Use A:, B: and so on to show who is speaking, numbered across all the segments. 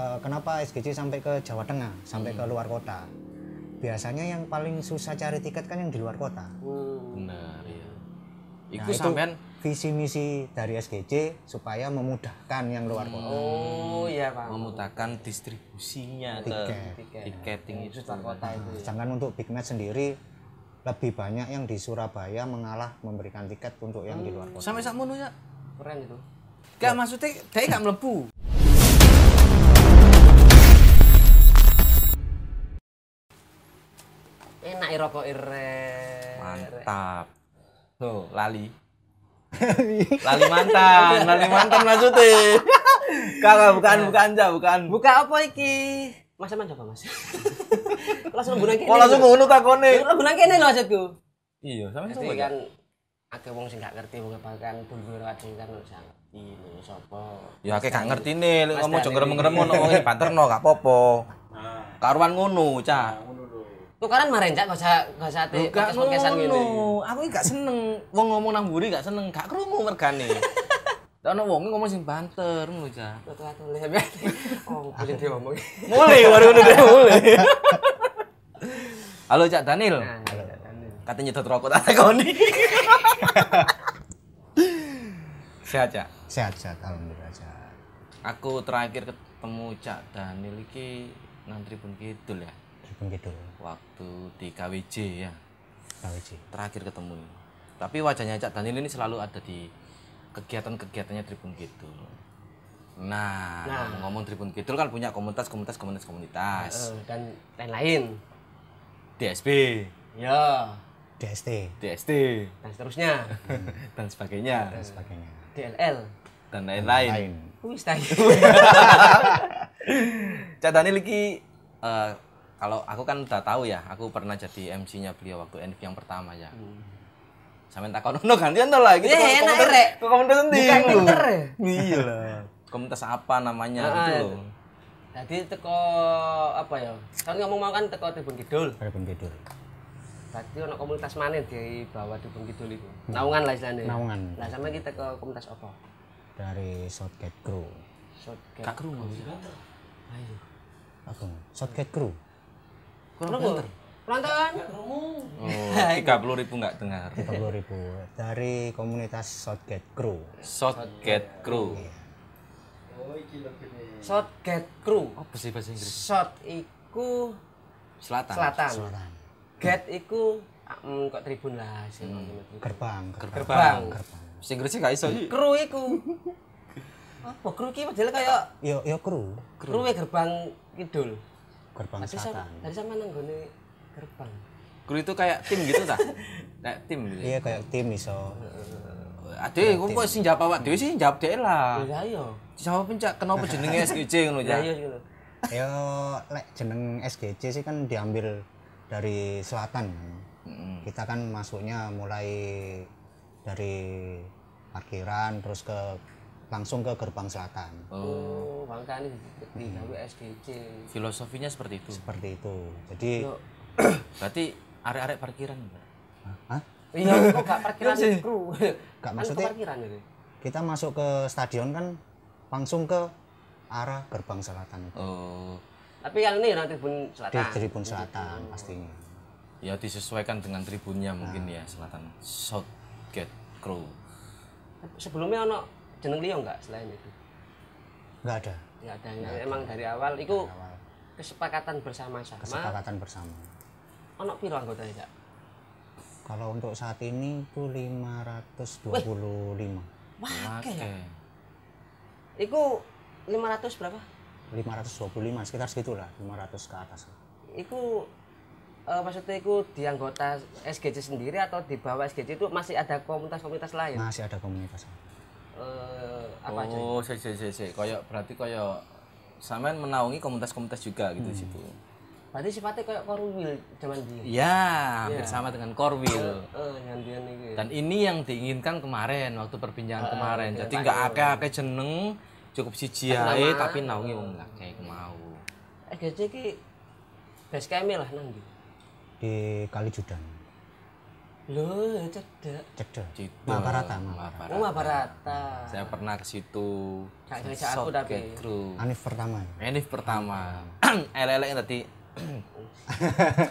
A: Eh, Kenapa SGC sampai ke Jawa Tengah, sampai ke luar kota? Biasanya yang paling susah cari tiket kan yang di luar kota.
B: benar ya
A: Nah,
B: itu sampean
A: visi misi dari SGC supaya memudahkan yang luar kota.
C: Oh iya pak.
B: memutakan distribusinya
A: Tiket.
B: ke tiketing itu
C: Juta kota itu. ya.
A: Sedangkan untuk Big Match sendiri lebih banyak yang di Surabaya mengalah memberikan tiket untuk yang di luar kota.
B: sampai sakmono ya
C: Keren itu.
B: gak maksudnya dia gak melebu
C: Enak i rokok iren.
B: mantap tuh lali lali mantan lali mantan maksudnya kakak bukan bukan aja bukan
C: Buka apa iki? Mas Eman coba mas. Langsung lembunan kene.
B: kok Oh, langsung ngono takone
C: Lembunan kene lho maksudku.
B: iya sampean
C: Jadi
B: coba
C: kan ada wong sing gak ngerti wong bahkan bulgur kadung kan ora sang. Ini sapa?
B: ya akeh gak ngerti nih lu
C: Mas
B: ngomong
C: Dani.
B: jong ngerem-ngerem ngono wong iki banterno gak popo karuan ngono cah
C: Tukaran maren cak gak usah gak usah ati
B: Gak
C: podcast-podcastan ngene.
B: ngono. Aku iki gak seneng wong ngomong nang mburi gak seneng, gak krungu mergane. Lah ana wong ngomong sing banter ngono ja.
C: Tuh atuh lebih. Oh, boleh diomong.
B: Mulai baru ngono deh, mulai. Nah. Halo Cak Daniel. Katanya nyedot rokok tak takoni. Sehat Cak.
A: Sehat sehat alhamdulillah sehat.
B: Aku terakhir ketemu Cak Daniel iki nang Tribun Kidul ya.
A: Tribun Kidul,
B: Waktu di KWJ ya.
A: KWJ.
B: terakhir ketemu ini. Tapi wajahnya Cak Daniel ini selalu ada di kegiatan-kegiatannya Tribun Kidul. Nah, ngomong Tribun Kidul kan punya komunitas, komunitas, komunitas, komunitas.
C: Eh, dan lain-lain.
B: DSB,
C: Ya,
A: DST
B: DST,
C: dan seterusnya.
B: dan sebagainya,
A: dan sebagainya.
C: DLL.
B: dan lain-lain.
A: Lain.
C: Wis ta.
B: Cak Daniel ini, eh, kalau aku kan udah tahu ya, aku pernah jadi MC-nya beliau waktu NF yang pertama ya. Sampai tak kono gantian tuh lagi.
C: Ya, enak, Rek.
B: komunitas sendiri.
C: Bukan pinter.
B: Iya lah. Komunitas apa namanya
C: Ah,
B: gitu
C: ah.
B: loh.
C: Jadi teko apa ya? Kan ngomong mau kan teko Tribun Kidul.
A: Tribun Kidul.
C: Berarti ono komunitas mana di bawah Tribun Kidul itu? Naungan lah istilahnya.
A: Naungan.
C: Nah, sama kita ke komunitas apa?
A: dari Southgate Crew.
C: Shotgun.
B: Kak Krungu.
C: Ayo.
A: Apa? Southgate Crew.
C: Kurang pinter. Penonton.
B: Oh, 30 ribu nggak dengar.
A: 30.000 dari komunitas Southgate Crew.
B: Shotgate Crew.
C: Shot get crew.
B: Apa sih bahasa Oh, Inggris?
C: Shot iku
B: Selatan.
C: selatan.
A: Selatan.
C: Get iku ah, mm, kok tribun lah sih. Hmm.
A: Gerbang. Gerbang.
C: Bang.
B: Bahasa Inggrisnya nggak iso. sih.
C: Kru iku. Apa kru iki padahal kaya
A: Yo yo crew.
C: kru gerbang kidul.
A: Gerbang
C: Tadi sama,
A: selatan.
C: tadi sama nang gone gerbang.
B: Crew itu kayak tim gitu ta? Kayak tim gitu.
A: Iya kayak tim iso.
B: Ade, kok kok sing jawab awak dhewe sih jawab dhewe lah.
C: Ya ayo.
B: Jawab pencak kenapa jenenge SGJ ngono ya?
C: Ya ayo ngono.
A: Yo lek jeneng SGC sih kan diambil dari selatan. kan. Kita kan masuknya mulai dari parkiran terus ke langsung ke gerbang selatan.
C: Oh, makanya di gawe SDC.
B: Filosofinya seperti itu.
A: Seperti itu. Jadi
B: Berarti arek-arek parkiran. Mbak.
A: Hah?
C: Iya, kok gak parkiran kru.
A: Gak
C: Kan
A: maksudnya-
C: ke parkiran itu.
A: kita masuk ke stadion kan langsung ke arah gerbang selatan itu.
B: Oh,
C: Tapi yang ini nanti pun
A: Nah, di
C: selatan.
A: tribun selatan pastinya
B: ya disesuaikan dengan tribunnya mungkin ya selatan. Shotgate Crew.
C: Sebelumnya ono jeneng liya enggak selain itu?
A: nggak ada
C: Ya ada yang emang dari awal itu kesepakatan bersama-sama.
A: kesepakatan bersama
C: Ono piro anggota ya?
A: kalau untuk saat ini itu 525
B: Oke.
C: Iku 500 berapa?
A: 525 sekitar segitulah 500 ke atas
C: Iku eh, maksudnya iku di anggota SGC sendiri atau di bawah SGC itu masih ada komunitas-komunitas lain?
A: masih ada komunitas
C: Eh, apa aja?
B: oh, sih sih sih sih. Kayak berarti kayak sampean menaungi komunitas-komunitas juga
C: Hmm.
B: gitu di situ.
C: Berarti sifatnya kayak korwil zaman dia.
B: Ya, hampir sama dengan Korwil.
C: Eh, yang dia nih. gitu.
B: Dan ini yang diinginkan kemarin waktu perbincangan
C: Ah,
B: kemarin. Jadi nggak akeh-akeh jeneng, cukup siji ae tapi naungi wong akeh iku mau.
C: SGC ki base camp lah nang ndi?
A: di Kalijudan
C: Di Loh, ya cedek.
A: Cedek.
B: Cedek.
A: Mahabharata, Mahabharata.
B: Gitu. Mahabharata.
C: Oh, Mahabharata.
B: Saya pernah ke situ.
C: Gak ngajak aku tapi.
B: Shortcut crew.
A: Anif pertama.
B: Ini pertama. Elek-elek yang tadi.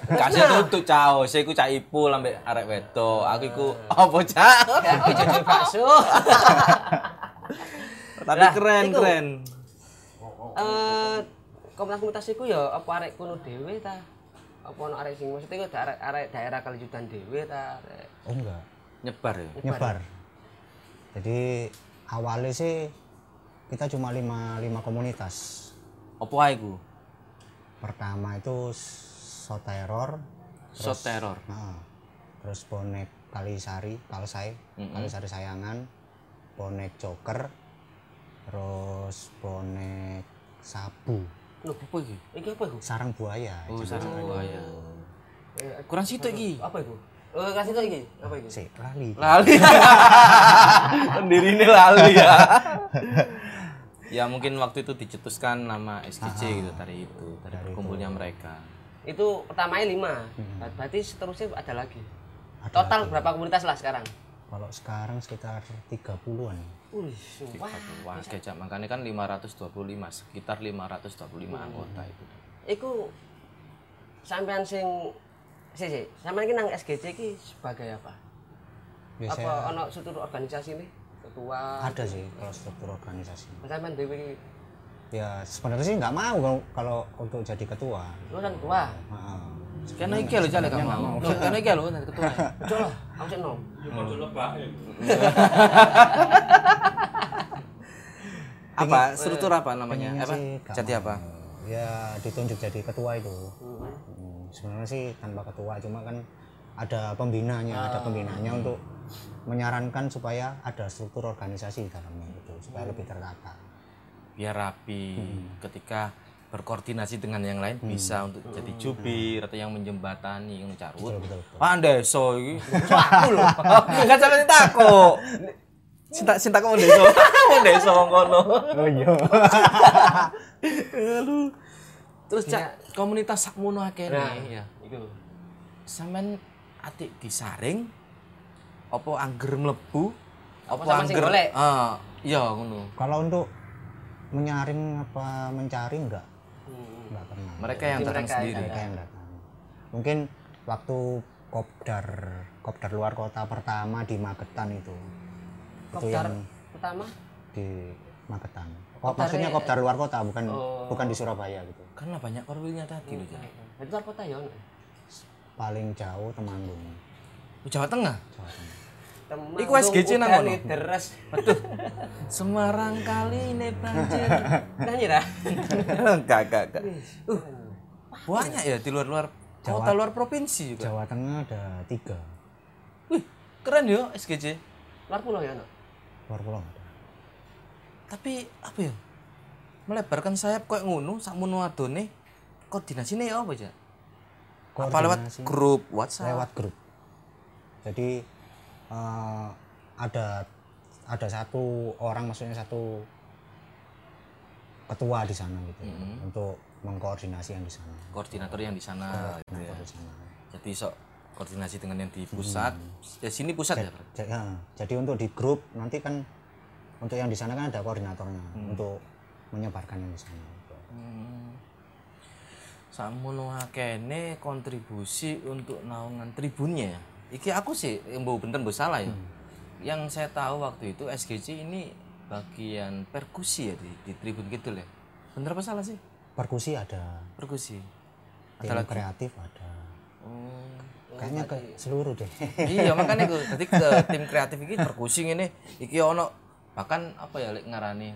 B: Kasih tutup cao, saya ku cak ibu lambe arek wedok. Aku iku apa cak?
C: Oh, jadi bakso.
B: Tapi
C: Lah,
B: keren
C: iku.
B: keren. oh,
C: Eh, komunitas-komunitas iku ya apa arek kuno dhewe ta? Apa ono arek sing maksudnya iku da- arek-arek daerah Kalijutan dhewe ta? Arek.
A: Oh enggak.
B: Nyebar ya.
A: nyebar. Jadi awalnya sih kita cuma lima, lima komunitas.
B: Apa wae iku?
A: Pertama itu Shot Terror,
B: Shot terror.
A: nah, terus bonek Kalisari, Kalsai, Kalisari Sayangan, bonek Joker, terus bonek Sabu,
B: Loh, apa iki?
C: Iki apa iku?
A: sarang buaya.
B: Oh,
A: jenenge.
B: sarang buaya.
C: Eh,
B: Kurang situ iki.
C: Apa iku? Oh, kasih tau iki. Apa iku?
A: Sik, lali.
B: Lali. Pendiri ini lali ya. ya mungkin waktu itu dicetuskan nama SKC gitu dari itu, dari kumpulnya mereka.
C: Itu pertamanya lima. Ber- Berarti seterusnya Hmm. ada lagi. Total berapa komunitas lah sekarang?
A: Kalau sekarang sekitar 30-an.
C: Wih, sumpah.
B: Wah, kecap makanya kan 525, sekitar 525 anggota itu.
C: Iku sampean sing sih sih, sampean ki nang SGC ki sebagai apa? apa
A: Biasanya
C: ono struktur organisasi ini? Ketua.
A: ada sih kalau struktur organisasi.
C: Sampean dhewe ki
A: Ya sebenarnya sih nggak mau kalau- kalau untuk jadi ketua.
C: lu kan ketua.
A: Heeh.
B: Karena iki lho jale gak mau. Loh, Karena iki lho nanti ketua.
C: Ojo lah, aku sik nom.
B: apa struktur apa namanya?
A: Pengennya
B: Apa?
A: sih nggak
B: Jati
A: mau.
B: apa?
A: Ya ditunjuk jadi ketua itu. Hmm, Sebenarnya sih tanpa ketua cuma kan ada pembinanya, ada
B: Ah.
A: pembinanya untuk menyarankan supaya ada struktur organisasi di dalamnya itu supaya lebih tertata.
B: Biar rapi
A: Hmm.
B: ketika berkoordinasi dengan yang lain bisa untuk jadi jubir atau yang menjembatani yang carut.
A: Betul betul. betul.
B: Pandeso iki. Aku lho. Enggak sampe takut. Cinta cinta kamu deso. Deso wong kono.
A: Oh iya.
B: Terus cak komunitas sakmono akeh
C: Nah,
B: nih ya.
C: Iku.
B: Sampean atik disaring apa angger mlebu apa,
C: sama sing golek?
B: Ah, iya ngono.
A: Kalau untuk menyaring apa mencari enggak?
C: Hmm.
A: Enggak pernah.
B: Mereka yang ya? datang
C: mereka
B: sendiri.
A: Mereka yang datang. Mungkin waktu kopdar kopdar luar kota pertama di Magetan itu. Itu
C: Kopdar
A: yang
C: pertama
A: di Magetan. Oh, maksudnya kopdar luar kota bukan bukan di Surabaya gitu.
B: Karena banyak korwilnya tadi loh, Cak.
C: Berarti luar kota ya ono.
A: Paling jauh Temanggung.
B: Di Jawa Tengah.
A: Jawa Tengah.
C: Temen
B: Iku SGC nang
C: udan
B: kono?
C: iki deres.
B: Semarang kali ini banjir.
C: Nah nyira.
B: Enggak, enggak, enggak. Uh, banyak ya di luar-luar kota luar provinsi juga.
A: Jawa Tengah ada tiga.
B: Wih, keren yo SGJ.
C: Luar pulau ya ono.
A: Luar pulau ada.
B: Tapi apa ya? Melebarkan sayap kayak ngono sakmono adone koordinasine ya apa, Cak? Apa lewat
A: Koordinasi
B: grup WhatsApp?
A: lewat grup. Jadi eh, ada ada satu orang maksudnya satu ketua di sana gitu untuk mengkoordinasi yang di sana.
B: Koordinator yang di sana. gitu ya.
A: Di sana.
B: Jadi sok koordinasi dengan yang di pusat.
A: Hmm.
B: Ya sini pusat ya. Bro?
A: Ja- ya, jadi untuk di grup nanti kan untuk yang di sana kan ada koordinatornya untuk menyebarkan yang di sana. gitu.
B: Sakmono akene kontribusi untuk naungan tribunnya ya. Iki aku sih mbok bener mbok salah
A: Hmm.
B: ya. Yang saya tahu waktu itu SGC ini bagian perkusi ya di, di tribun gitu ya. Bener apa salah sih?
A: Perkusi ada,
B: Perkusi.
A: tim kreatif ada.
B: Oh.
A: Kayaknya ke seluruh deh.
B: iya makanya gue tadi ke tim kreatif ini perkusi ini iki ono bahkan apa ya lek ngarani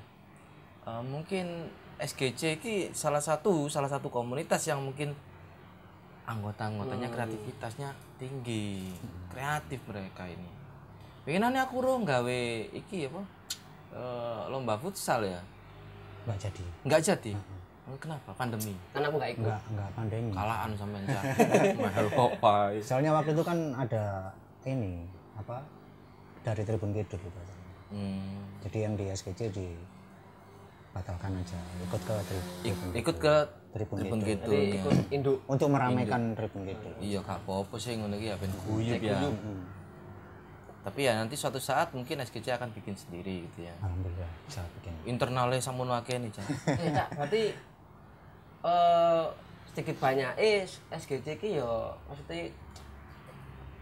B: eh, mungkin SGC iki salah satu salah satu komunitas yang mungkin anggota-anggotanya kreativitasnya tinggi kreatif mereka ini pengenannya aku roh gawe iki apa eh, lomba futsal ya
A: Enggak jadi.
B: nggak jadi kenapa pandemi
C: Kan aku gak ikut.
A: Enggak enggak pandemi.
B: kalaan sampai mahal kok Pak.
A: Soalnya waktu itu kan ada ini apa dari Tribun Kidul gitu.
B: hmm.
A: Jadi yang di SKC di batalkan aja ikut ke tri- tribun
B: ikut ke
A: Tribun
B: tribun gitu
C: Jadi ikut induk
A: untuk meramaikan tribun gitu
B: iya gak apa-apa sih ngono iki ya ben guyub ya tapi ya nanti suatu saat mungkin SGC akan bikin sendiri gitu ya
A: alhamdulillah bisa bikin
B: internalnya samono akeh nih Cak.
C: Eh, Cak, berarti eh sedikit banyak eh SGC ki yo ya, maksudnya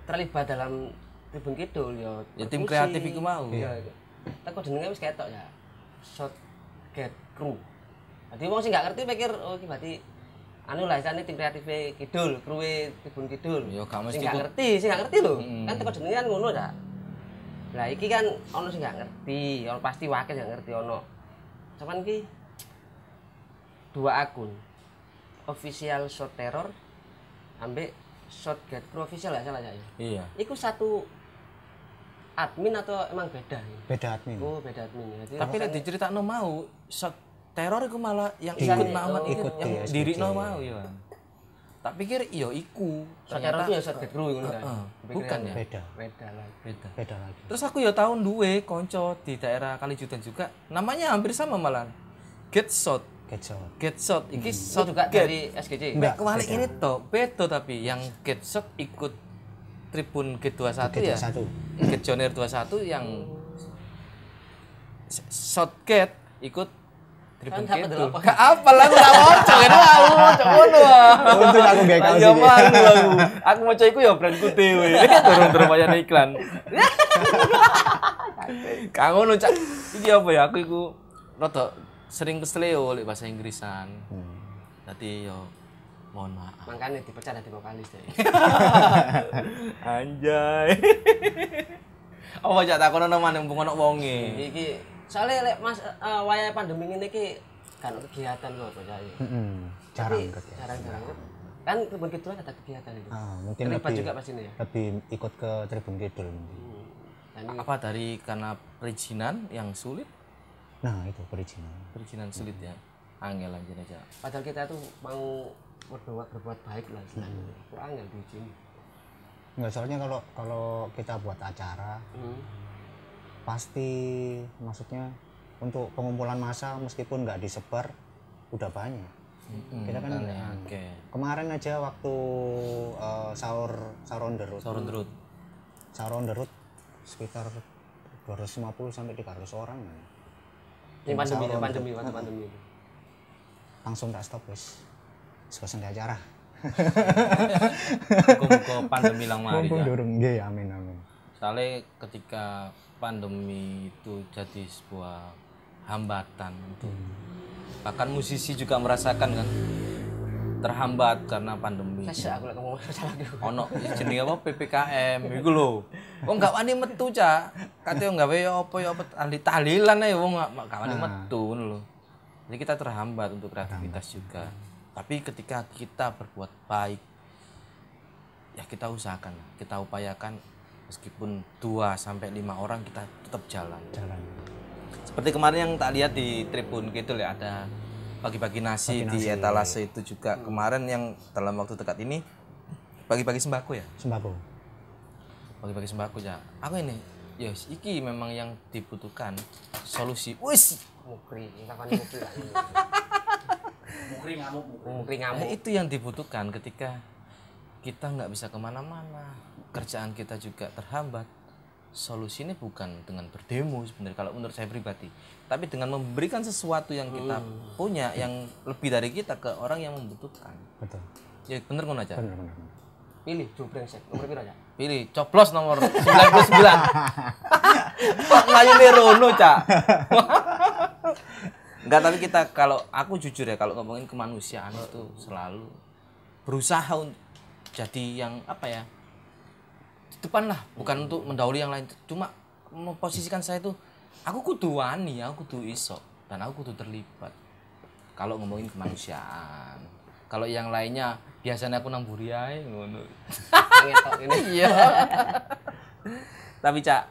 C: terlibat dalam Tribun Kidul yo.
B: Ya, tim
C: perkusi.
B: kreatif iku mau.
C: Iya. Teko jenenge wis ketok ya. Shot get crew. Dadi wong sing gak ngerti pikir oh iki berarti anu lah istilahnya tim kreatif e Kidul, kruwe Tribun Kidul.
B: Yo, gak mesti
C: sing
B: ikut.
C: gak
B: Hmm.
C: ngerti, sing gak ngerti lho. Kan teko jenenge kan ngono ta. Lah iki kan ono sing gak ngerti, ono pasti wakil gak ngerti ono. Cuman iki dua akun official shot terror ambek shot get crew official gak salah ya
B: iya
C: Iku satu admin atau emang beda? ya?
A: beda admin
C: Oh beda admin. Jadi
B: Hmm. tapi nek
C: makanya-
B: diceritakno mau shot teror iku malah yang
C: Iya,
B: ikut
C: iya.
B: Mamat
C: Oh,
B: iku
A: ikut
B: yang
A: di SGC.
B: diri mau ya tak pikir iya iku
C: shot teror
B: ternyata
C: itu ya shot get crew ngono kan.
B: Heeh,
C: Kepikiran
B: bukan ya
A: beda
C: Beda lah.
B: beda
A: beda lagi
B: terus aku ya tahun duwe konco di daerah Kalijutan juga namanya hampir sama malah get shot
A: kecoh
B: get shot iki shot
C: Shot Hmm. juga
B: get
C: dari SGC.
B: Mbak kembali ini toh, beto tapi yang get shot ikut Tribun G21 ya.
A: satu
B: Get Joner 21 yang s- shot get ikut Tribun
C: Kan gak
B: Kidul.
C: kedelok.
B: Gak apa lah aku tak wocok kan aku wocok ngono. ah.
A: Untung aku gak kaos
B: Ya
A: ini.
B: mangu aku. Aku wocok iku ya brandku dhewe. Turun-turun wayang iklan. Kak ngono cak. Iki apa ya aku iku rada sering kesleo oleh bahasa Inggrisan. Dadi yo mohon maaf.
C: Makanya dipercaya di vokalis deh.
B: Anjay. Apa cak takono nang maneh mumpung ono wonge.
C: Iki soalnya lek mas eh, wayah pandemi ini ki kan kegiatan kok percaya.
A: Mm-mm. jarang
B: ya.
A: kegiatan
C: Jarang-jarang. Kan kebun kedua ada kegiatan itu.
A: Ah, mungkin
C: Terlibat
A: lebih
C: juga pasti ini ya. Hmm.
A: lebih ikut ke tribun kidul mungkin.
C: Dan ini
B: apa dari karena perizinan yang sulit
A: nah itu perizinan
B: perizinan sulit ya angel anjir aja
C: padahal kita tuh mau berdoa berbuat baik lah istilahnya.
B: Hmm.
C: Kurang yang diizin.
A: nggak soalnya kalau kalau kita buat acara
C: Hmm.
A: pasti maksudnya untuk pengumpulan massa meskipun nggak disebar udah banyak kita kan
B: oke
A: kemarin aja waktu eh, sahur sahur on the road
B: turun terus
A: sahur on the road sekitar 250 sampai 300 orang
C: Ini pandemi, ya, pandemi, waktu pandemi. itu.
A: langsung tak stop wis sekosen di acara
B: muka pandemi lang mari
A: mumpung
B: ya
A: durung nggih amin amin
B: soalnya ketika pandemi itu jadi sebuah hambatan untuk bahkan musisi juga merasakan kan terhambat karena pandemi
C: Saya aku lagi ngomong salah dulu.
B: ono jenenge apa PPKM iku lho. Wong gak wani metu, Cak. Kate yo gawe yo apa yo apa ahli tahlilan ae wong gak gak wani metu ngono lho. Jadi kita terhambat untuk kreativitas juga. Tapi ketika kita berbuat baik ya kita usahakan, kita upayakan meskipun 2 sampai 5 orang kita tetap jalan.
A: jalan
B: Seperti kemarin yang tak lihat di Tribun Kidul ya ada pagi-pagi nasi, di etalase itu juga. Kemarin yang dalam waktu dekat ini pagi-pagi sembako ya.
A: sembako
B: Pagi-pagi sembako ya. Aku ini ya wis, iki memang yang dibutuhkan solusi. Wis,
C: Mukri, kapan mukri lah. Mukri ngamuk.
B: Nah, itu yang dibutuhkan ketika kita nggak bisa kemana-mana kerjaan kita juga terhambat solusinya bukan dengan berdemo sebenarnya kalau menurut saya pribadi tapi dengan memberikan sesuatu yang kita punya yang lebih dari kita ke orang yang membutuhkan
A: betul
B: ya bener ngono aja
A: benar benar benar.
C: Pilih jobreng sek. Nomor piro ya?
B: pilih coplos nomor 99 ngayune rono cak enggak tapi kita kalau aku jujur ya kalau ngomongin kemanusiaan itu selalu berusaha untuk jadi yang apa ya di depan lah bukan untuk mendahului yang lain cuma memposisikan saya itu aku kudu wani aku kudu iso dan aku kudu terlibat kalau ngomongin kemanusiaan kalau yang lainnya biasanya aku namburi ae ngono
C: Ngetok ini.
B: Iya. Tapi Cak,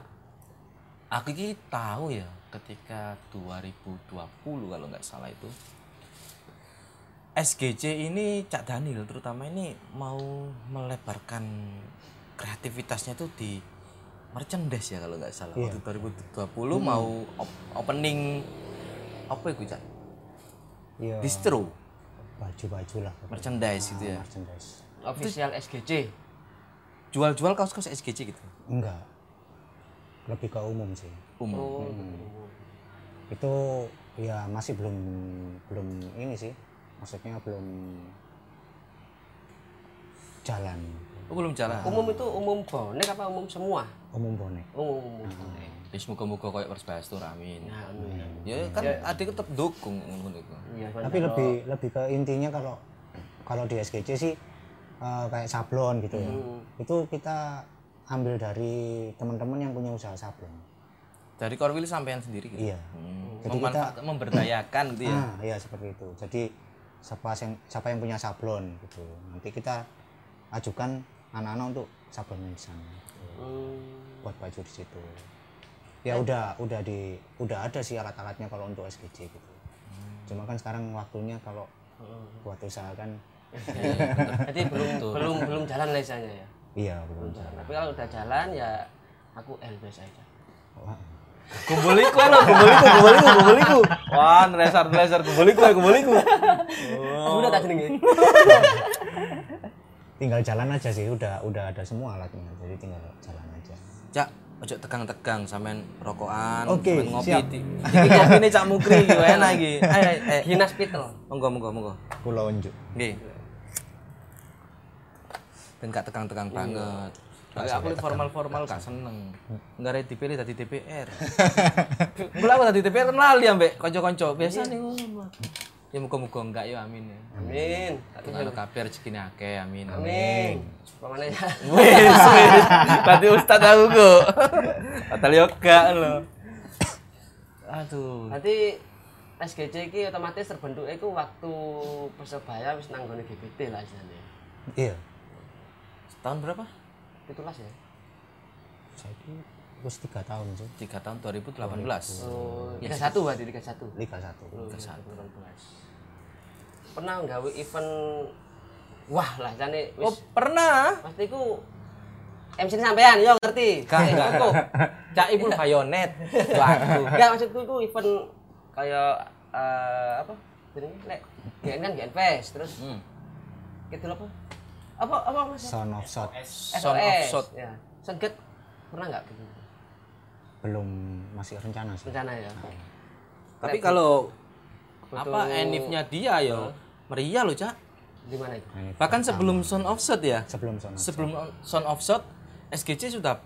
B: aku ini tahu ya ketika 2020 kalau nggak salah itu SGC ini Cak Daniel terutama ini mau melebarkan kreativitasnya itu di merchandise ya kalau nggak salah waktu 2020 mau op- opening apa itu Cak?
A: Iya.
B: distro
A: Baju-baju lah.
B: merchandise gitu ya
A: Merchandise.
C: official SGC
B: jual-jual kaos-kaos SGC gitu
A: Enggak. Lebih ke umum sih.
B: umum
C: oh
A: Itu ya masih belum belum ini sih. Maksudnya belum jalan
B: oh, belum jalan
C: umum itu umum bonek apa umum semua
A: umum bonek.
C: umum umum bonek
B: ya semoga-moga kayak persebaya tur amin
C: nah, amin.
B: ya kan adik tetap dukung ngono iku.
C: Iya,
A: Tapi lebih lebih ke intinya kalau kalau di SGC sih eh, kayak sablon gitu ya. Itu kita ambil dari teman-teman yang punya usaha sablon.
B: dari Korwil sampean sendiri gitu
A: Iya.
B: hmm.
A: Jadi
B: Memanfaat- memberdayakan gitu ya
A: Ah, iya seperti itu. Jadi siapa yang siapa yang punya sablon gitu. Nanti kita ajukan anak-anak untuk sablonnya di sana. gitu.
C: Hmm.
A: Buat baju di situ. Ya udah udah di udah ada sih alat-alatnya kalau untuk SGC gitu. Cuma kan sekarang waktunya kalau buat usaha kan
C: jadi belum belum belum jalan lah istilahnya ya
A: iya belum.
C: tapi kalau udah jalan ya aku LBS aja
A: Wah,
B: Kumboliku lo, kumboliku, kumboliku, kumboliku. Wah, nresar, nresar, kumboliku, ya, kumboliku.
C: aku udah tak jenenge
A: Tinggal jalan aja sih udah udah ada semua alatnya. Jadi tinggal jalan aja.
B: Cak, ojo tegang-tegang sampean rokokan,
A: Oke,
B: sampean ngopi.
A: siap.
B: Di, iki ngopine Cak Mukri iki enak iki. Ayo,
C: Eh,
B: ayo, ayo.
C: Ginas Pitel
B: Monggo, monggo, monggo.
A: Pulau unjuk.
B: Nggih. Ben gak tegang-tegang banget. Tapi Iya. aku ini formal-formal gak seneng. Enggak ada Hmm. ya, dipilih tadi DPR. Mula aku tadi DPR kan lali ambek kanca-kanca. Biasa nih ngono. Ya muga-muga enggak ya amin ya.
C: amin
B: Kalau kabeh rezekine akeh amin.
C: amin pemana ya
B: Wes, wes. Berarti Ustadz aku kok. Batal yoga lo. Aduh.
C: nanti SGC ini otomatis terbentuk itu waktu persebaya wis nanggone GBT lah istilahnya
A: Iya.
B: Tahun berapa?
C: itulah ya
A: Saya itu terus tiga tahun sih.
B: 3 tahun 2018.
C: tiga satu berarti tiga satu
A: Liga satu.
C: Hmm. pernah nggawe event wah lah jane
B: Oh,
C: wis
B: pernah.
C: pasti ku MC ini sampean yo ngerti
B: Kak,
C: Eh,
B: enggak.
C: ku.
B: Cak Ibul bayonet. Waktu.
C: enggak maksudku itu event kayak eh, apa jenenge lek GN kan GN Fest terus
B: Hmm.
C: gitu apa apa apa mas
A: Son of shot
B: Son of
C: SOS,
B: shot.
C: ya Son Get, pernah nggak gitu
A: belum masih rencana sih.
C: rencana ya
B: Tapi kalau
C: Foto-
B: apa enifnya dia yo meriah lo, Cak.
C: di mana itu
A: Nah, ini
B: Bahkan sebelum sound offset ya.
A: sebelum sono.
B: Sebelum on- sound offset SGC sudah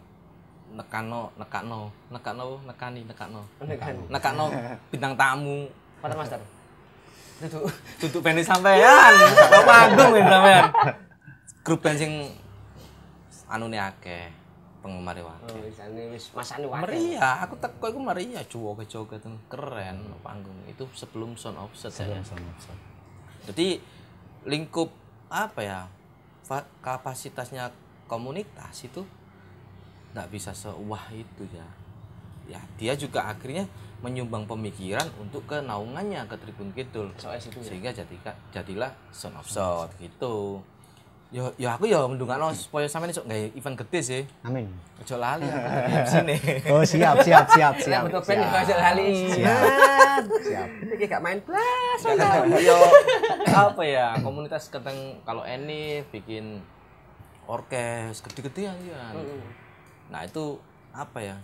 B: nekano nekano nekano nekani nekano
C: kan
B: nekano bintang tamu
C: Master Master itu
B: tutup band sampean kok panggung ini sampean grup band sing anune akeh penggemar wae
C: oh isane wis masane wae
B: Maria, aku teko iku Maria joget-joget keren panggung itu sebelum sound offset ya.
A: Sebelum sono shot.
B: Jadi lingkup apa ya fa- kapasitasnya komunitas itu nggak bisa sewah itu ya. Ya dia juga akhirnya menyumbang pemikiran untuk ke naungannya ke Tribun Kidul
C: SOS itu ya
B: sehingga jadilah jadilah son of Sound gitu. Yo yo aku yo mendungakno supaya sampean iso gawe event gede sih.
A: Amin.
B: Ojo lali aku di sini.
A: Oh siap siap siap siap.
C: Betul band
A: siap.
C: kok aja lali.
A: Siap. siap.
C: Iki gak main blas.
B: yo Iya. apa ya komunitas keteng kalau ini bikin orkes gede-gedean ya nah itu apa ya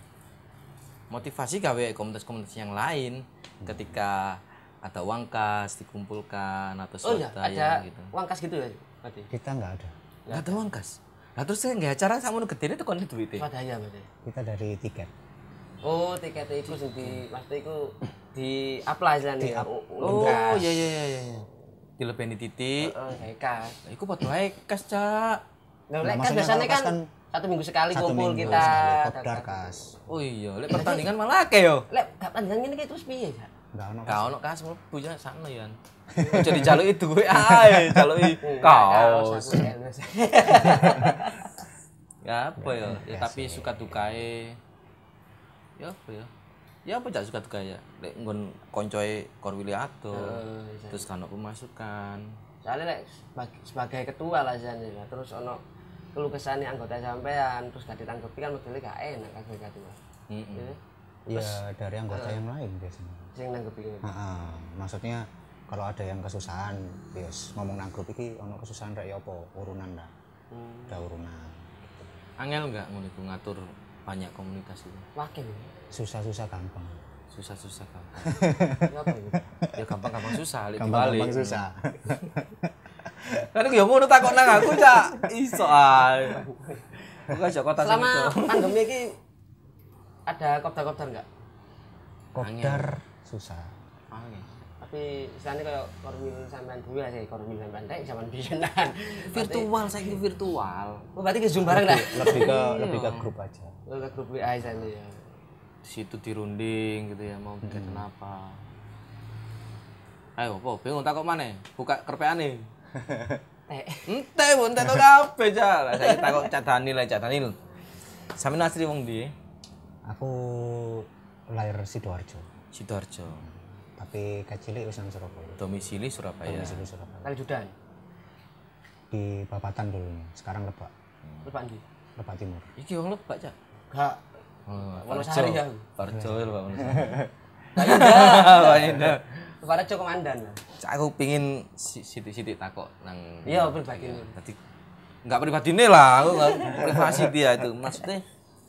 B: motivasi gawe komunitas-komunitas yang lain ketika ada wangkas dikumpulkan atau
C: Oh iya,
B: swadaya
C: ada
B: gitu
C: wangkas gitu ya. Berarti.
A: Kita nggak ada.
B: nggak ada wangkas nah terus nggak acara sama gede itu kon duitnya
C: Swadaya berarti.
A: Kita dari tiket.
C: Oh, tiket itu sing di maksudnya itu di apply jalan nih. ya.
B: oh iya iya iya iya dilebeni titik
C: Oh, hekas.
B: Iku padha ae kas cak
C: Nah,
A: Nah,
C: lek kan
A: maksudnya
C: biasanya
A: kalau kas
C: kan
A: kan
C: satu minggu sekali
A: Satu
C: kumpul
A: minggu
C: kita.
A: sekali, kan. kopdar kas.
B: oh iya lek pertandingan malah akeh yo
C: Lek gak panjang ngene iki terus piye ya?
A: Nggak ono kas.
B: Kau ono kas mlebu ya sakno ya. Ojo dijaluki duwe ae, jaluki kaos. Ya apa
A: Iya,
B: ya? Ya tapi suka dukae. Ya apa ya? Ya apa gak suka dukae ya? Lek nggon koncoe Korwili ado.
A: Oh, iya
B: Terus kan ono pemasukan.
C: Soalnya lek sebag- sebagai ketua lah jalan ya. Terus ono keluh kesahnya anggota sampean terus gak ditanggapi kan modelnya gak enak kan sebagai ketua.
B: Heeh.
C: Iya.
A: Ya dari anggota yang lain biasanya.
C: Sing nanggepi
A: Ah, ah. maksudnya kalau ada yang kesusahan yes ngomong nang grup iki ono kesusahan rek ya apa urunan dah ada urunan
B: Angel nggak ngono iku ngatur banyak komunitas itu.
C: wakil
A: susah-susah gampang
B: Susah-susah gampang.
C: ya apa itu
B: Ya gampang-gampang susah lek dibalik.
A: gampang-gampang susah
B: Kan iku ya ngono takon nang aku cak. Iso ae. Bukan aja kota sing
C: selama
B: itu.
C: pandemi ini ada kopdar-kopdar nggak
A: kopdar susah
B: Angel.
C: tapi istilahnya kayak kormil sampean dua sih kormil sampean teh zaman bisenan
B: Virtual saiki virtual.
C: oh, berarti ke zoom bareng dah
A: lebih ke lebih ke grup aja
C: Lo ke grup WA sana ya
B: Di situ dirunding gitu ya mau bikin kenapa. Ayo, po, bingung takok maneh. Buka kerpeane.
C: teh
B: Ente pun ente kabeh cak. Lah saiki takok Cak Danil, Cak Danil. Sampeyan asli wong ndi?
A: aku lahir sidoarjo
B: Sidoarjo.
A: tapi kecil wis nang Surabaya
B: Domisili Surabaya.
A: Domisili Surabaya
C: kali judan
A: di Babatan dulunya sekarang Lebak
C: lupa andi
A: Lebak Timur
B: Iki wong lebak cak.
C: gak Wonosari ya.
B: Parjo ya Oh, Pak Wonosari.
C: kepada cok komandan
B: Cak aku pingin si- sitik-sitik takok nang
C: iya berbagi
B: tadi nggak pribadine lah aku nggak privasi dia itu maksudnya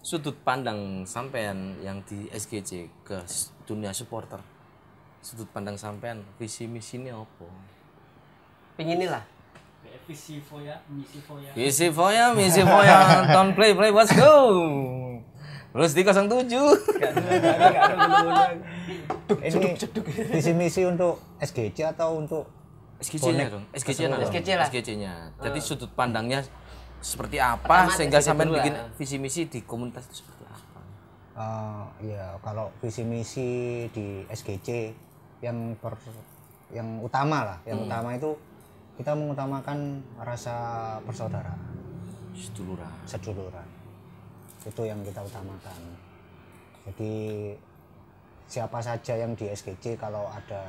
B: sudut pandang sampean yang di SGC ke s- dunia supporter sudut pandang sampean visi misinya apa
C: pingin lah
D: visi foya, misi foya.
B: visi foya misi foya don't play play let's go terus di 07
A: ini visi misi untuk SGC atau untuk
B: SGC-nya dong, SGC-nya, dong.
C: SGC lah.
B: SGC-nya. Jadi sudut pandangnya seperti apa
C: Pertama,
B: sehingga
C: SGC
B: sampean
C: dulu
B: bikin
C: lah.
B: visi misi di komunitas itu seperti apa?
A: eh, ya kalau visi misi di SGC yang per yang utama lah yang utama itu kita mengutamakan rasa persaudaraan
B: Seduluran.
A: seduluran itu yang kita utamakan jadi siapa saja yang di SGC kalau ada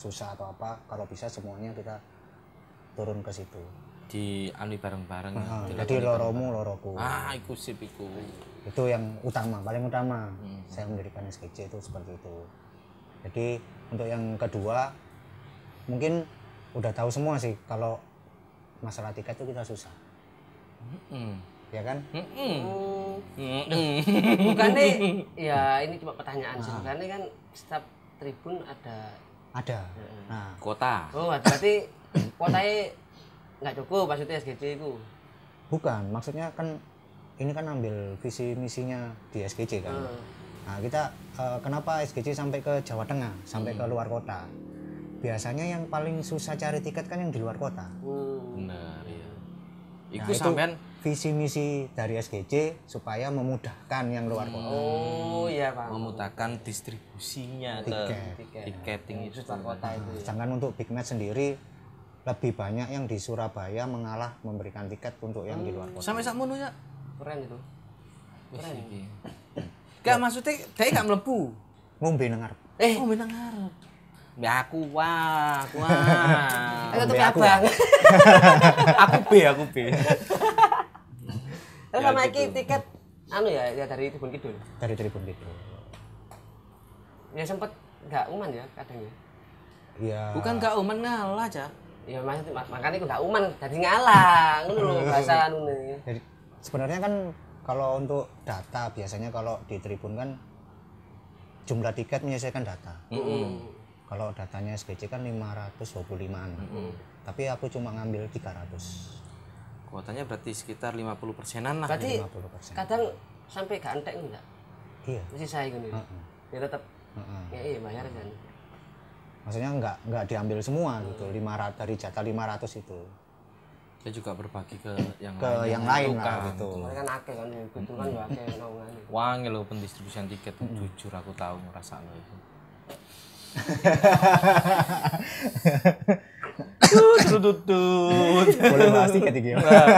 A: susah atau apa kalau bisa semuanya kita turun ke situ
B: di anu bareng-bareng ya,
A: Nah,
B: dilakoni
A: jadi loromu
B: bareng-bareng.
A: loroku
B: ah iku sip iku
A: itu yang utama paling utama saya mendirikan SKC itu seperti itu jadi untuk yang kedua mungkin udah tahu semua sih kalau masalah tiket itu kita susah
B: Mm.
A: ya kan
B: Mm-mm.
C: Hmm,
B: Mm-mm.
C: bukannya ya ini cuma pertanyaan sih bukannya kan setiap tribun ada
A: ada nah
B: kota
C: oh berarti kuotanya nggak cukup maksudnya SGC itu
A: bukan maksudnya kan ini kan ambil visi misinya di SKC kan
C: Hmm.
A: nah kita eh, kenapa SKC sampai ke Jawa Tengah sampai ke luar kota biasanya yang paling susah cari tiket kan yang di luar kota
C: Hmm.
B: bener ya
A: Nah,
B: iku sampean
A: visi misi dari SGC supaya memudahkan yang luar kota.
C: oh iya pak
B: memutakan distribusinya
A: Tiket.
B: ke tiketing itu
C: Susah kota itu ya.
A: Sedangkan untuk big match sendiri lebih banyak yang di Surabaya mengalah memberikan tiket untuk yang di luar kota.
B: sampai sakmono ya
C: keren itu
B: wis iki gak maksudnya dia gak mlebu
A: Ngombe nengar.
B: eh oh menang ngarep ya aku wah aku wah
C: Aku
A: Ambil
C: tapi
A: aku.
C: abang.
B: aku B aku B
C: Tapi sama iki tiket anu ya, ya dari Tribun Kidul.
A: dari Tribun Kidul.
C: Ya sempet nggak uman ya kadang ya.
A: Ya.
B: bukan gak omen ngalah cak
C: Ya maksudnya mak- makanya aku nggak uman, jadi ngalah ngono lho bahasa anu nih.
A: Jadi, sebenarnya kan kalau untuk data biasanya kalau di Tribun kan jumlah tiket menyesuaikan data. Kalau datanya SGC kan 525-an. Tapi aku cuma ngambil 300.
B: kuotanya berarti sekitar 50 persenan lah
C: Berarti
A: 50%.
C: kadang sampai gak entek enggak.
A: Iya.
C: Mesti saya gini. Ya tetep
A: Heeh.
C: ya iya bayar kan.
A: maksudnya nggak nggak diambil semua gitu 500 dari jatah 500 itu
B: saya juga berbagi ke yang
A: ke
B: lain
A: yang lain lah
B: membutuhkan.
A: gitu
C: Mereka kan akeh kan di Kidul kan ya akeh naungan.
B: wangi loh pendistribusian tiket jujur aku tahu ngerasa lo itu sudut
A: boleh bahas tiket iki ya
B: Nah.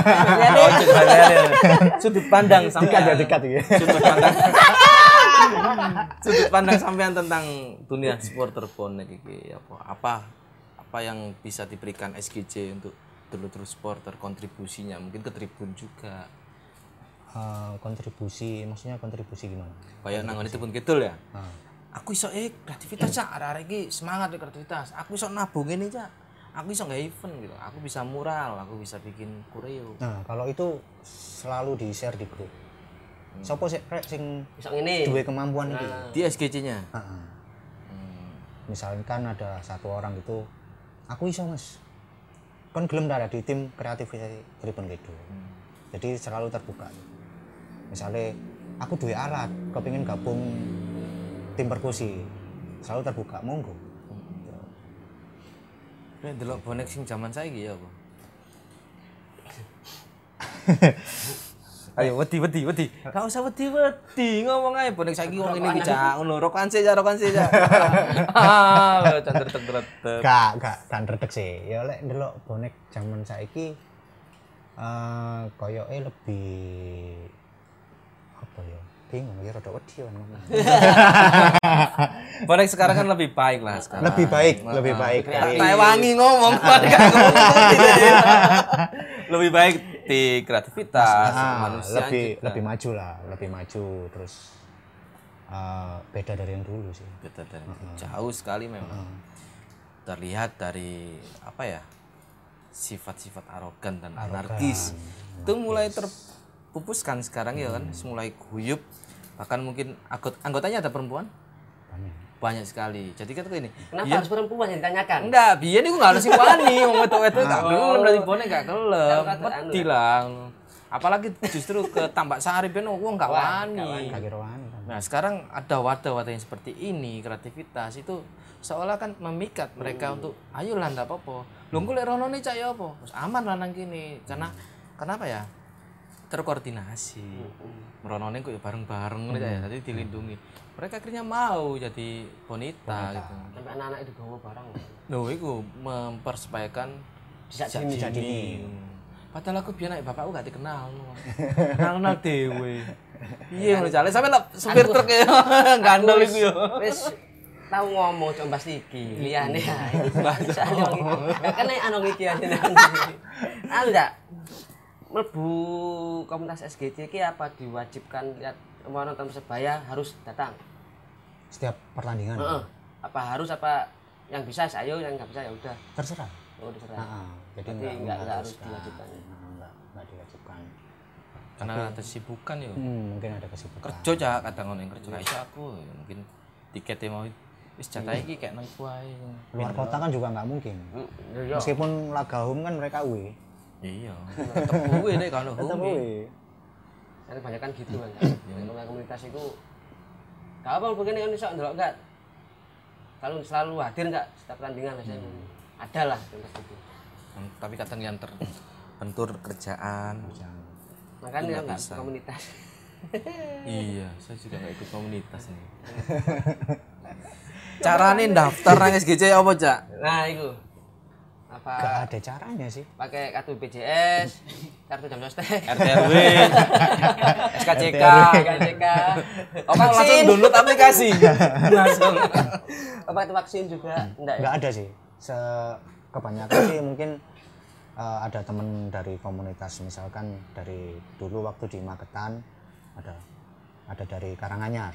B: sudut pandang
A: tiket ya
B: sampean
A: tiket iki
B: sudut pandang sudut pandang sampean tentang dunia supporter bonek iki apa apa apa yang bisa diberikan SGC untuk dulu-dulu supporter kontribusinya mungkin ke tribun juga
A: Eh, kontribusi maksudnya kontribusi gimana
B: kayak nangon itu pun gitu ya
A: Ah.
B: aku iso eh kreativitas cak arah iki semangat nih kreativitas aku iso nabung ini cak aku iso nggak event gitu aku bisa mural aku bisa bikin koreo
A: Nah, kalau itu selalu di-share di grup. Sopo sih Rek, sing
C: Bisa ini.
A: duwe kemampuan iki?
C: Iya. Nah,
B: di SGC nya
A: Heeh.
B: Hmm.
A: Misalkan ada satu orang itu aku iso, Mas. Kon gelem ta di tim kreatif Tribun Kido. Jadi selalu terbuka. Misalnya aku duwe alat, kepingin gabung tim perkusi. Selalu terbuka, monggo.
B: Ini delok bonek sing zaman saya gitu ya apa? Ayo wedi wedi wedi. Enggak usah wedi wedi ngomong ae bonek saiki wong ngene iki Cak. Ngono rokokan sih Cak, rokokan sih Cak. Ah, lho, Cak tertek-tertek.
A: Gak, gak, gak redek sih. Ya lek ndelok bonek zaman saiki eh koyoke lebih apa ya? Bingung ya rada wedi ya ngomong.
B: Bonek sekarang kan lebih baik lah sekarang.
A: Lebih baik, lebih baik dari
B: Tak wangi ngomong bonek aku ngomong. Lebih baik di kreativitas,
A: Ah,
B: manusia
A: lebih lebih maju lah, lebih maju terus eh, beda dari yang dulu sih.
B: beda Gitu, dari jauh sekali memang terlihat dari apa ya sifat-sifat arogan dan anarkis itu mulai terpupuskan sekarang ya kan mulai guyup bahkan mungkin anggot- anggotanya ada perempuan
A: Banyak.
B: banyak sekali jadi kan ini
C: Kenapa harus perempuan yang ditanyakan?
B: enggak biar nih gue nggak harus sih wani mau wetu wetu gak gelem dari bonek Oh. gak gelem mati lah apalagi justru ke tambak sari biar gue nggak wani
C: Iya.
A: Kaki rohani kan.
B: Nah sekarang ada wadah-wadah yang seperti ini kreativitas itu seolah kan memikat mereka untuk ayo lah ndak apa-apa. Lu engko lek rono nih cak ya apa? Terus aman lah nang kini. Karena kenapa ya? Terkoordinasi. Meronone kok ya bareng-bareng nih Cak, ya. Jadi dilindungi. Mereka akhirnya mau jadi bonita gitu.
C: Sampai anak-anak itu gawa barang.
B: Loh itu mempersepayakan
C: Bisa
B: sejak dini.
C: dini.
B: Padahal aku biar naik bapakku gak dikenal. Kenal kenal dewe. Iya, ngono jale sampe lek supir truk ya gandol iku ya.
C: Wis tahu ngomong coba pasti iki. Liyane ya. Bisa anong iki. Kan nek anong iki aja. Anu ndak mlebu komunitas SGC iki apa diwajibkan lihat mau nonton Persebaya harus datang.
A: Setiap pertandingan
C: Heeh. Apa harus apa yang bisa ayo yang nggak bisa ya udah.
A: terserah.
C: Oh, diserah.
A: Heeh. Jadi
C: Berarti
A: enggak
C: nggak- nggak harus diwajibkan.
A: Enggak, enggak diwajibkan.
B: Karena ada sibukan ya.
A: Hmm, mungkin ada kesibukan.
B: Kerja cak kadang ngono yang kerja gak iso aku ya mungkin tiketnya mau wis jatah iki kayak naik wae.
A: Luar kota kan juga nggak mungkin.
C: Heeh. Yo.
A: Meskipun laga home kan mereka away.
B: Iya, tetep kuwe nek kalau
A: Tetap
B: home.
A: away.
C: Kan banyak kan gitu kan. Fenomena komunitas itu gak apa mungkin yang iso kan ndelok enggak. Selalu selalu hadir enggak setiap pertandingan biasanya. Ada lah komunitas itu.
B: Hmm, Tapi kadang yang terbentur kerjaan.
C: Makanya yang komunitas.
B: Iya, saya juga nggak ikut komunitas ini. Carane daftar nang SGC apa, Cak?
C: Nah, itu.
A: Nggak
C: Apa
A: ada caranya sih.
C: pakai kartu BPJS, kartu jam sostek,
B: RTRW, SKCK.
C: KJK,
B: Apa langsung
C: vaksin,
B: download aplikasi? Langsung.
C: apa itu vaksin juga enggak ya?
A: Nggak ada sih. Se kebanyakan sih mungkin eh, ada temen dari komunitas misalkan dari dulu waktu di Magetan ada ada dari Karanganyar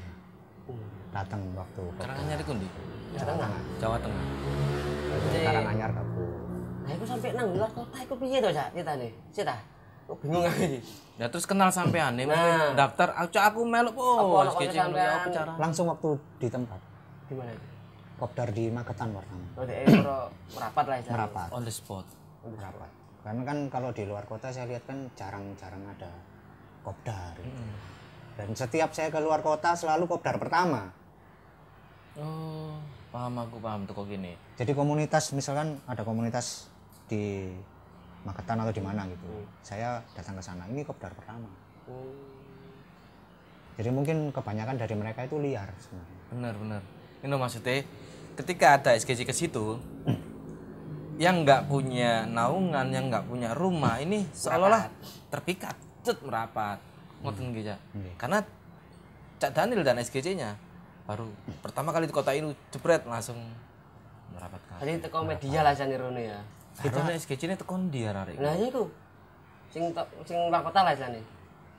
A: datang waktu ke
B: Caranya di kundi.
A: Jawa Tengah
B: Jawa Tengah.
A: dari Karanganyar kabur
C: Nah, itu sampai nang luar kota itu piye to, Cak? Ceritane. Cek ta? Kok bingung aku iki.
B: Ya terus kenal sampean nih,
C: Nah.
B: daftar aku aku melok
C: Apa
B: po.
C: ono
B: SGC
C: konco
B: ngono ya, apa
C: sampean?
B: cara?
A: langsung waktu di tempat
C: Gimana itu?
A: kopdar di Magetan pertama
C: Oh, dia pro merapat lah istilahnya.
A: merapat
B: On the spot.
A: merapat karena kan kalau di luar kota saya lihat kan jarang-jarang ada kopdar gitu. dan setiap saya ke luar kota selalu kopdar pertama
B: Oh, paham aku paham tuh kok gini.
A: jadi komunitas misalkan ada komunitas di Magetan atau di mana gitu saya datang ke sana ini kopdar pertama jadi mungkin kebanyakan dari mereka itu liar sebenarnya
B: Benar benar. Ini loh maksudnya ketika ada SGC ke situ yang nggak punya naungan, yang nggak punya rumah ini seolah-olah terpikat, cet merapat. Ngoten nggih, Cak. Karena Cak Daniel dan SGC-nya baru pertama kali di kota ini jebret langsung merapat kan.
C: Jadi teko media lah jane rono ya.
B: Kita SGC ini tekon dia arek.
C: Nah, iya itu. Sing to- sing luar kota lah jane.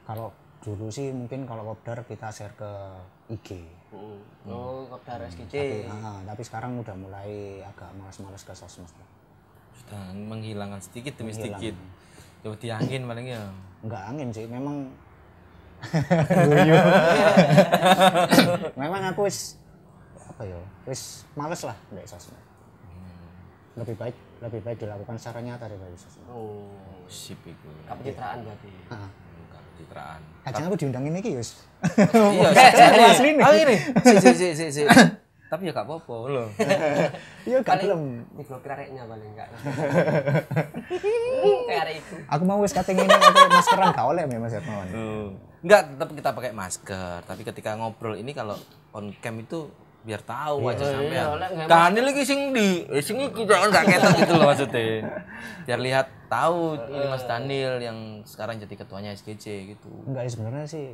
A: kalau dulu sih mungkin kalau kopdar kita share ke IG
C: Heeh. Oh, kopdar
A: tapi,
C: SGC.
A: ah, tapi sekarang udah mulai agak males-males ke sosmed
B: sudah menghilangkan sedikit demi
A: Menghilang.
B: sedikit coba diangin paling ya
A: nggak angin sih memang Guyu. memang aku wis apa ya wis males lah dari sosmed lebih baik lebih baik dilakukan secara nyata daripada sosmed
C: Oh,
B: sip itu
C: pencitraan berarti.
A: Ah,
B: bukan citraan
A: kadang aku diundang ini ki yus
B: iya
A: Kayak
B: sejane
A: asli nih.
B: ah ini si si si si, si. tapi ya gak apa-apa loh
A: iya gak
C: Paling
A: gelem
C: diblokir areknya paling enggak. Kayak arek itu.
A: aku mau wis kating ini tapi maskeran gak oleh memang mas Hermawan
B: Enggak, tetap kita pakai masker. Tapi ketika ngobrol ini kalau on cam itu biar tahu aja sampean.
C: oleh nggak
B: Kan lagi sing di, eh, sing iki jangan enggak ketok gitu loh maksudnya. Biar lihat tahu ini Mas Daniel yang sekarang jadi ketuanya SGC gitu.
A: enggak ya sebenarnya sih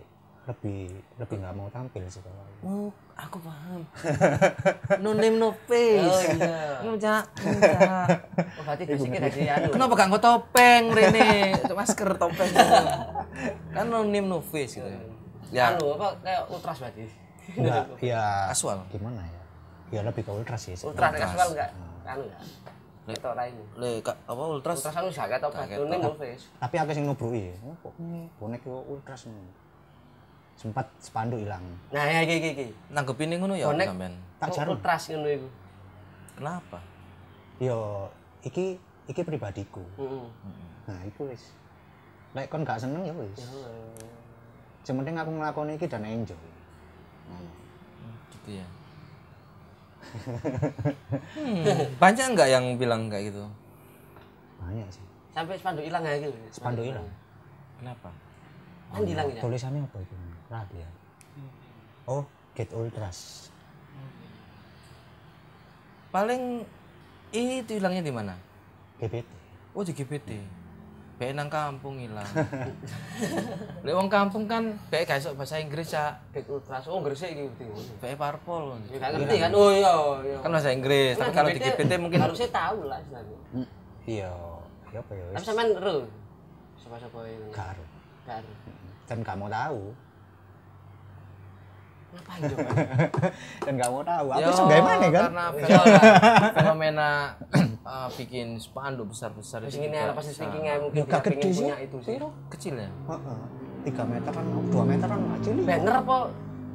A: lebih lebih nggak mau tampil sih kalau
B: Oh, aku paham. No name no face.
C: Oh, iya.
B: Enggak, enggak.
C: Oh, berarti basicnya dari anu.
B: Kenapa gak nggo topeng Rene? Masker topeng. gitu. kan no name no face gitu ya. Ya,
C: Anu apa kayak ultras berarti.
A: enggak ya
B: kasual.
A: gimana ya ya lebih ke ultras sih sebenarnya.
C: Ultras kasual enggak? Anu enggak. Ketok lain.
B: Le, ka- apa ultras?
C: Ultras anu enggak ketok batune mau face.
A: tapi aku sing ngobroi "Oh, kok bonek yo ultras nih sempat spanduk hilang
C: Nah, ya iki iki iki.
B: nanggepin ngono ya
C: Bonek.
B: sampean.
C: Oh,
A: tak jarum
C: Ultras ngono iku.
B: Kenapa?
A: yo iki iki pribadiku
C: Heeh.
A: nah iku wis lek kon gak seneng ya wis
C: Hmm.
A: sementing aku nglakoni iki dan enjoy
B: Hmm, Gitu ya. Hmm, banyak nggak yang bilang kayak gitu?
A: banyak sih
C: Sampai spanduk hilang ya iki.
A: spanduk hilang
B: Kenapa?
C: Kan hilang ya.
A: tulisannya apa itu radio oh get ultras
B: Paling itu hilangnya di mana?
A: GBT
B: Oh di GPT. Bae nang kampung hilang. Lek wong kampung kan bae gak iso bahasa Inggris ya.
C: Bek ultras. Oh, gresik iki berarti.
B: Bae parpol.
C: Ya gak ngerti kan. Oh iya, iya.
B: Kan bahasa Inggris, tapi kalau di GPT mungkin
C: harusnya tahu lah sebenarnya.
A: iya ya apa ya
C: Tapi
A: wis
C: sampean ero. Sapa-sapa yang
A: gak aruh.
C: gak ero.
A: dan gak mau tahu
C: Ngapain coba?
A: dan gak mau tahu aku
B: Ya,
A: iso gawe maneh kan
B: Karena fenomena, fenomena eh, bikin spanduk besar-besar
C: Terus
B: itu
C: ini
B: juga
C: apa sih
B: bisa.
C: thinking-nya mungkin
A: Gak
C: dia pengen
A: gede sih. Iya.
C: punya itu sih.
B: Kecil ya?
A: Heeh. tiga meteran dua meteran kecil
C: Banner apa?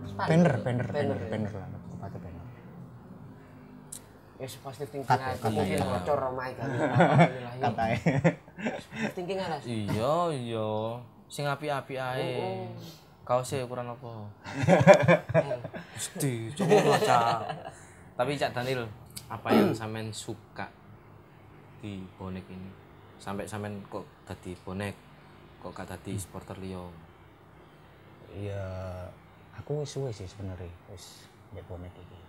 C: spanduk?
A: banner banner banner
C: Banner. ya?
A: banner lah tempatnya banner
C: Ya positive thinking
A: Kata-
C: aja.
A: katanya.
C: Mungkin bocor romai kan.
A: katanya
C: Positive thinking aja.
B: Iya, iya. Sing api-api ae.
C: Oh,
B: Kaose ukuran apa? Mesti coba lah, Cak. Tapi Cak Daniel, apa yang sampean suka di bonek ini? Sampai sampean kok tadi bonek, kok gak tadi supporter Leo?
A: ya aku wis suwe sih sebenarnya wis ndek bonek iki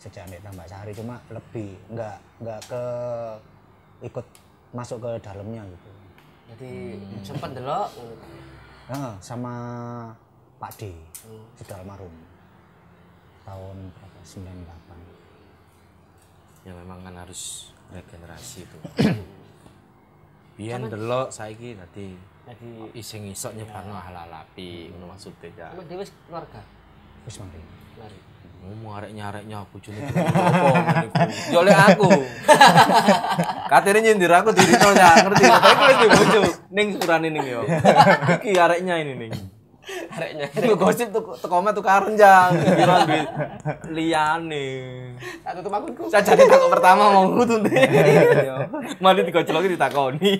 A: sejak ndek tambah sehari cuma lebih nggak nggak ke ikut masuk ke dalamnya gitu
C: Jadi
A: Hmm.
C: sempat delok.
A: Heeh, sama Pak D sudah almarhum tahun berapa 98
B: Ya memang kan harus regenerasi itu. Biyen delok saiki tadi
C: Jadi
B: iseng isok nyebarno hal-hal api ngono maksudnya Cak.
C: sama dia wis keluarga.
A: wis mari
C: Mari.
B: Ngomong arek-nyareknya aku jene opo Yo lek aku. Katene nyindir aku di dino ya, ngerti. Tapi aku wis bojo ning surane ning yo. Iki areknya ini ning.
C: Areknya.
B: Iku gosip tuh tekome tukaran jang, kira duit liyane.
C: Satu tumanku.
B: Saya jadi takut pertama mau ngutun deh. Iya. Mari digojloki ditakoni.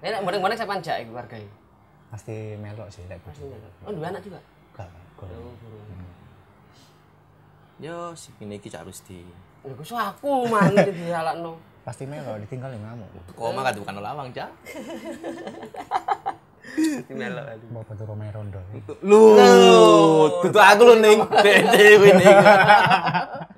C: Nek bonek-bonek sampean jak iku keluarga iki.
A: pasti melok sih lek bojo
C: Oh, dua anak juga.
A: gak gol
B: Yo, sing ini iki cak Rusti.
C: Ya gue aku man dihalakno.
A: pasti melok ditinggal yang ngamuk
B: Koma kan bukan lawang, Cak.
A: mau bantu Romeo Rondo
B: Lu, tutu aku lu ning dhewe ning.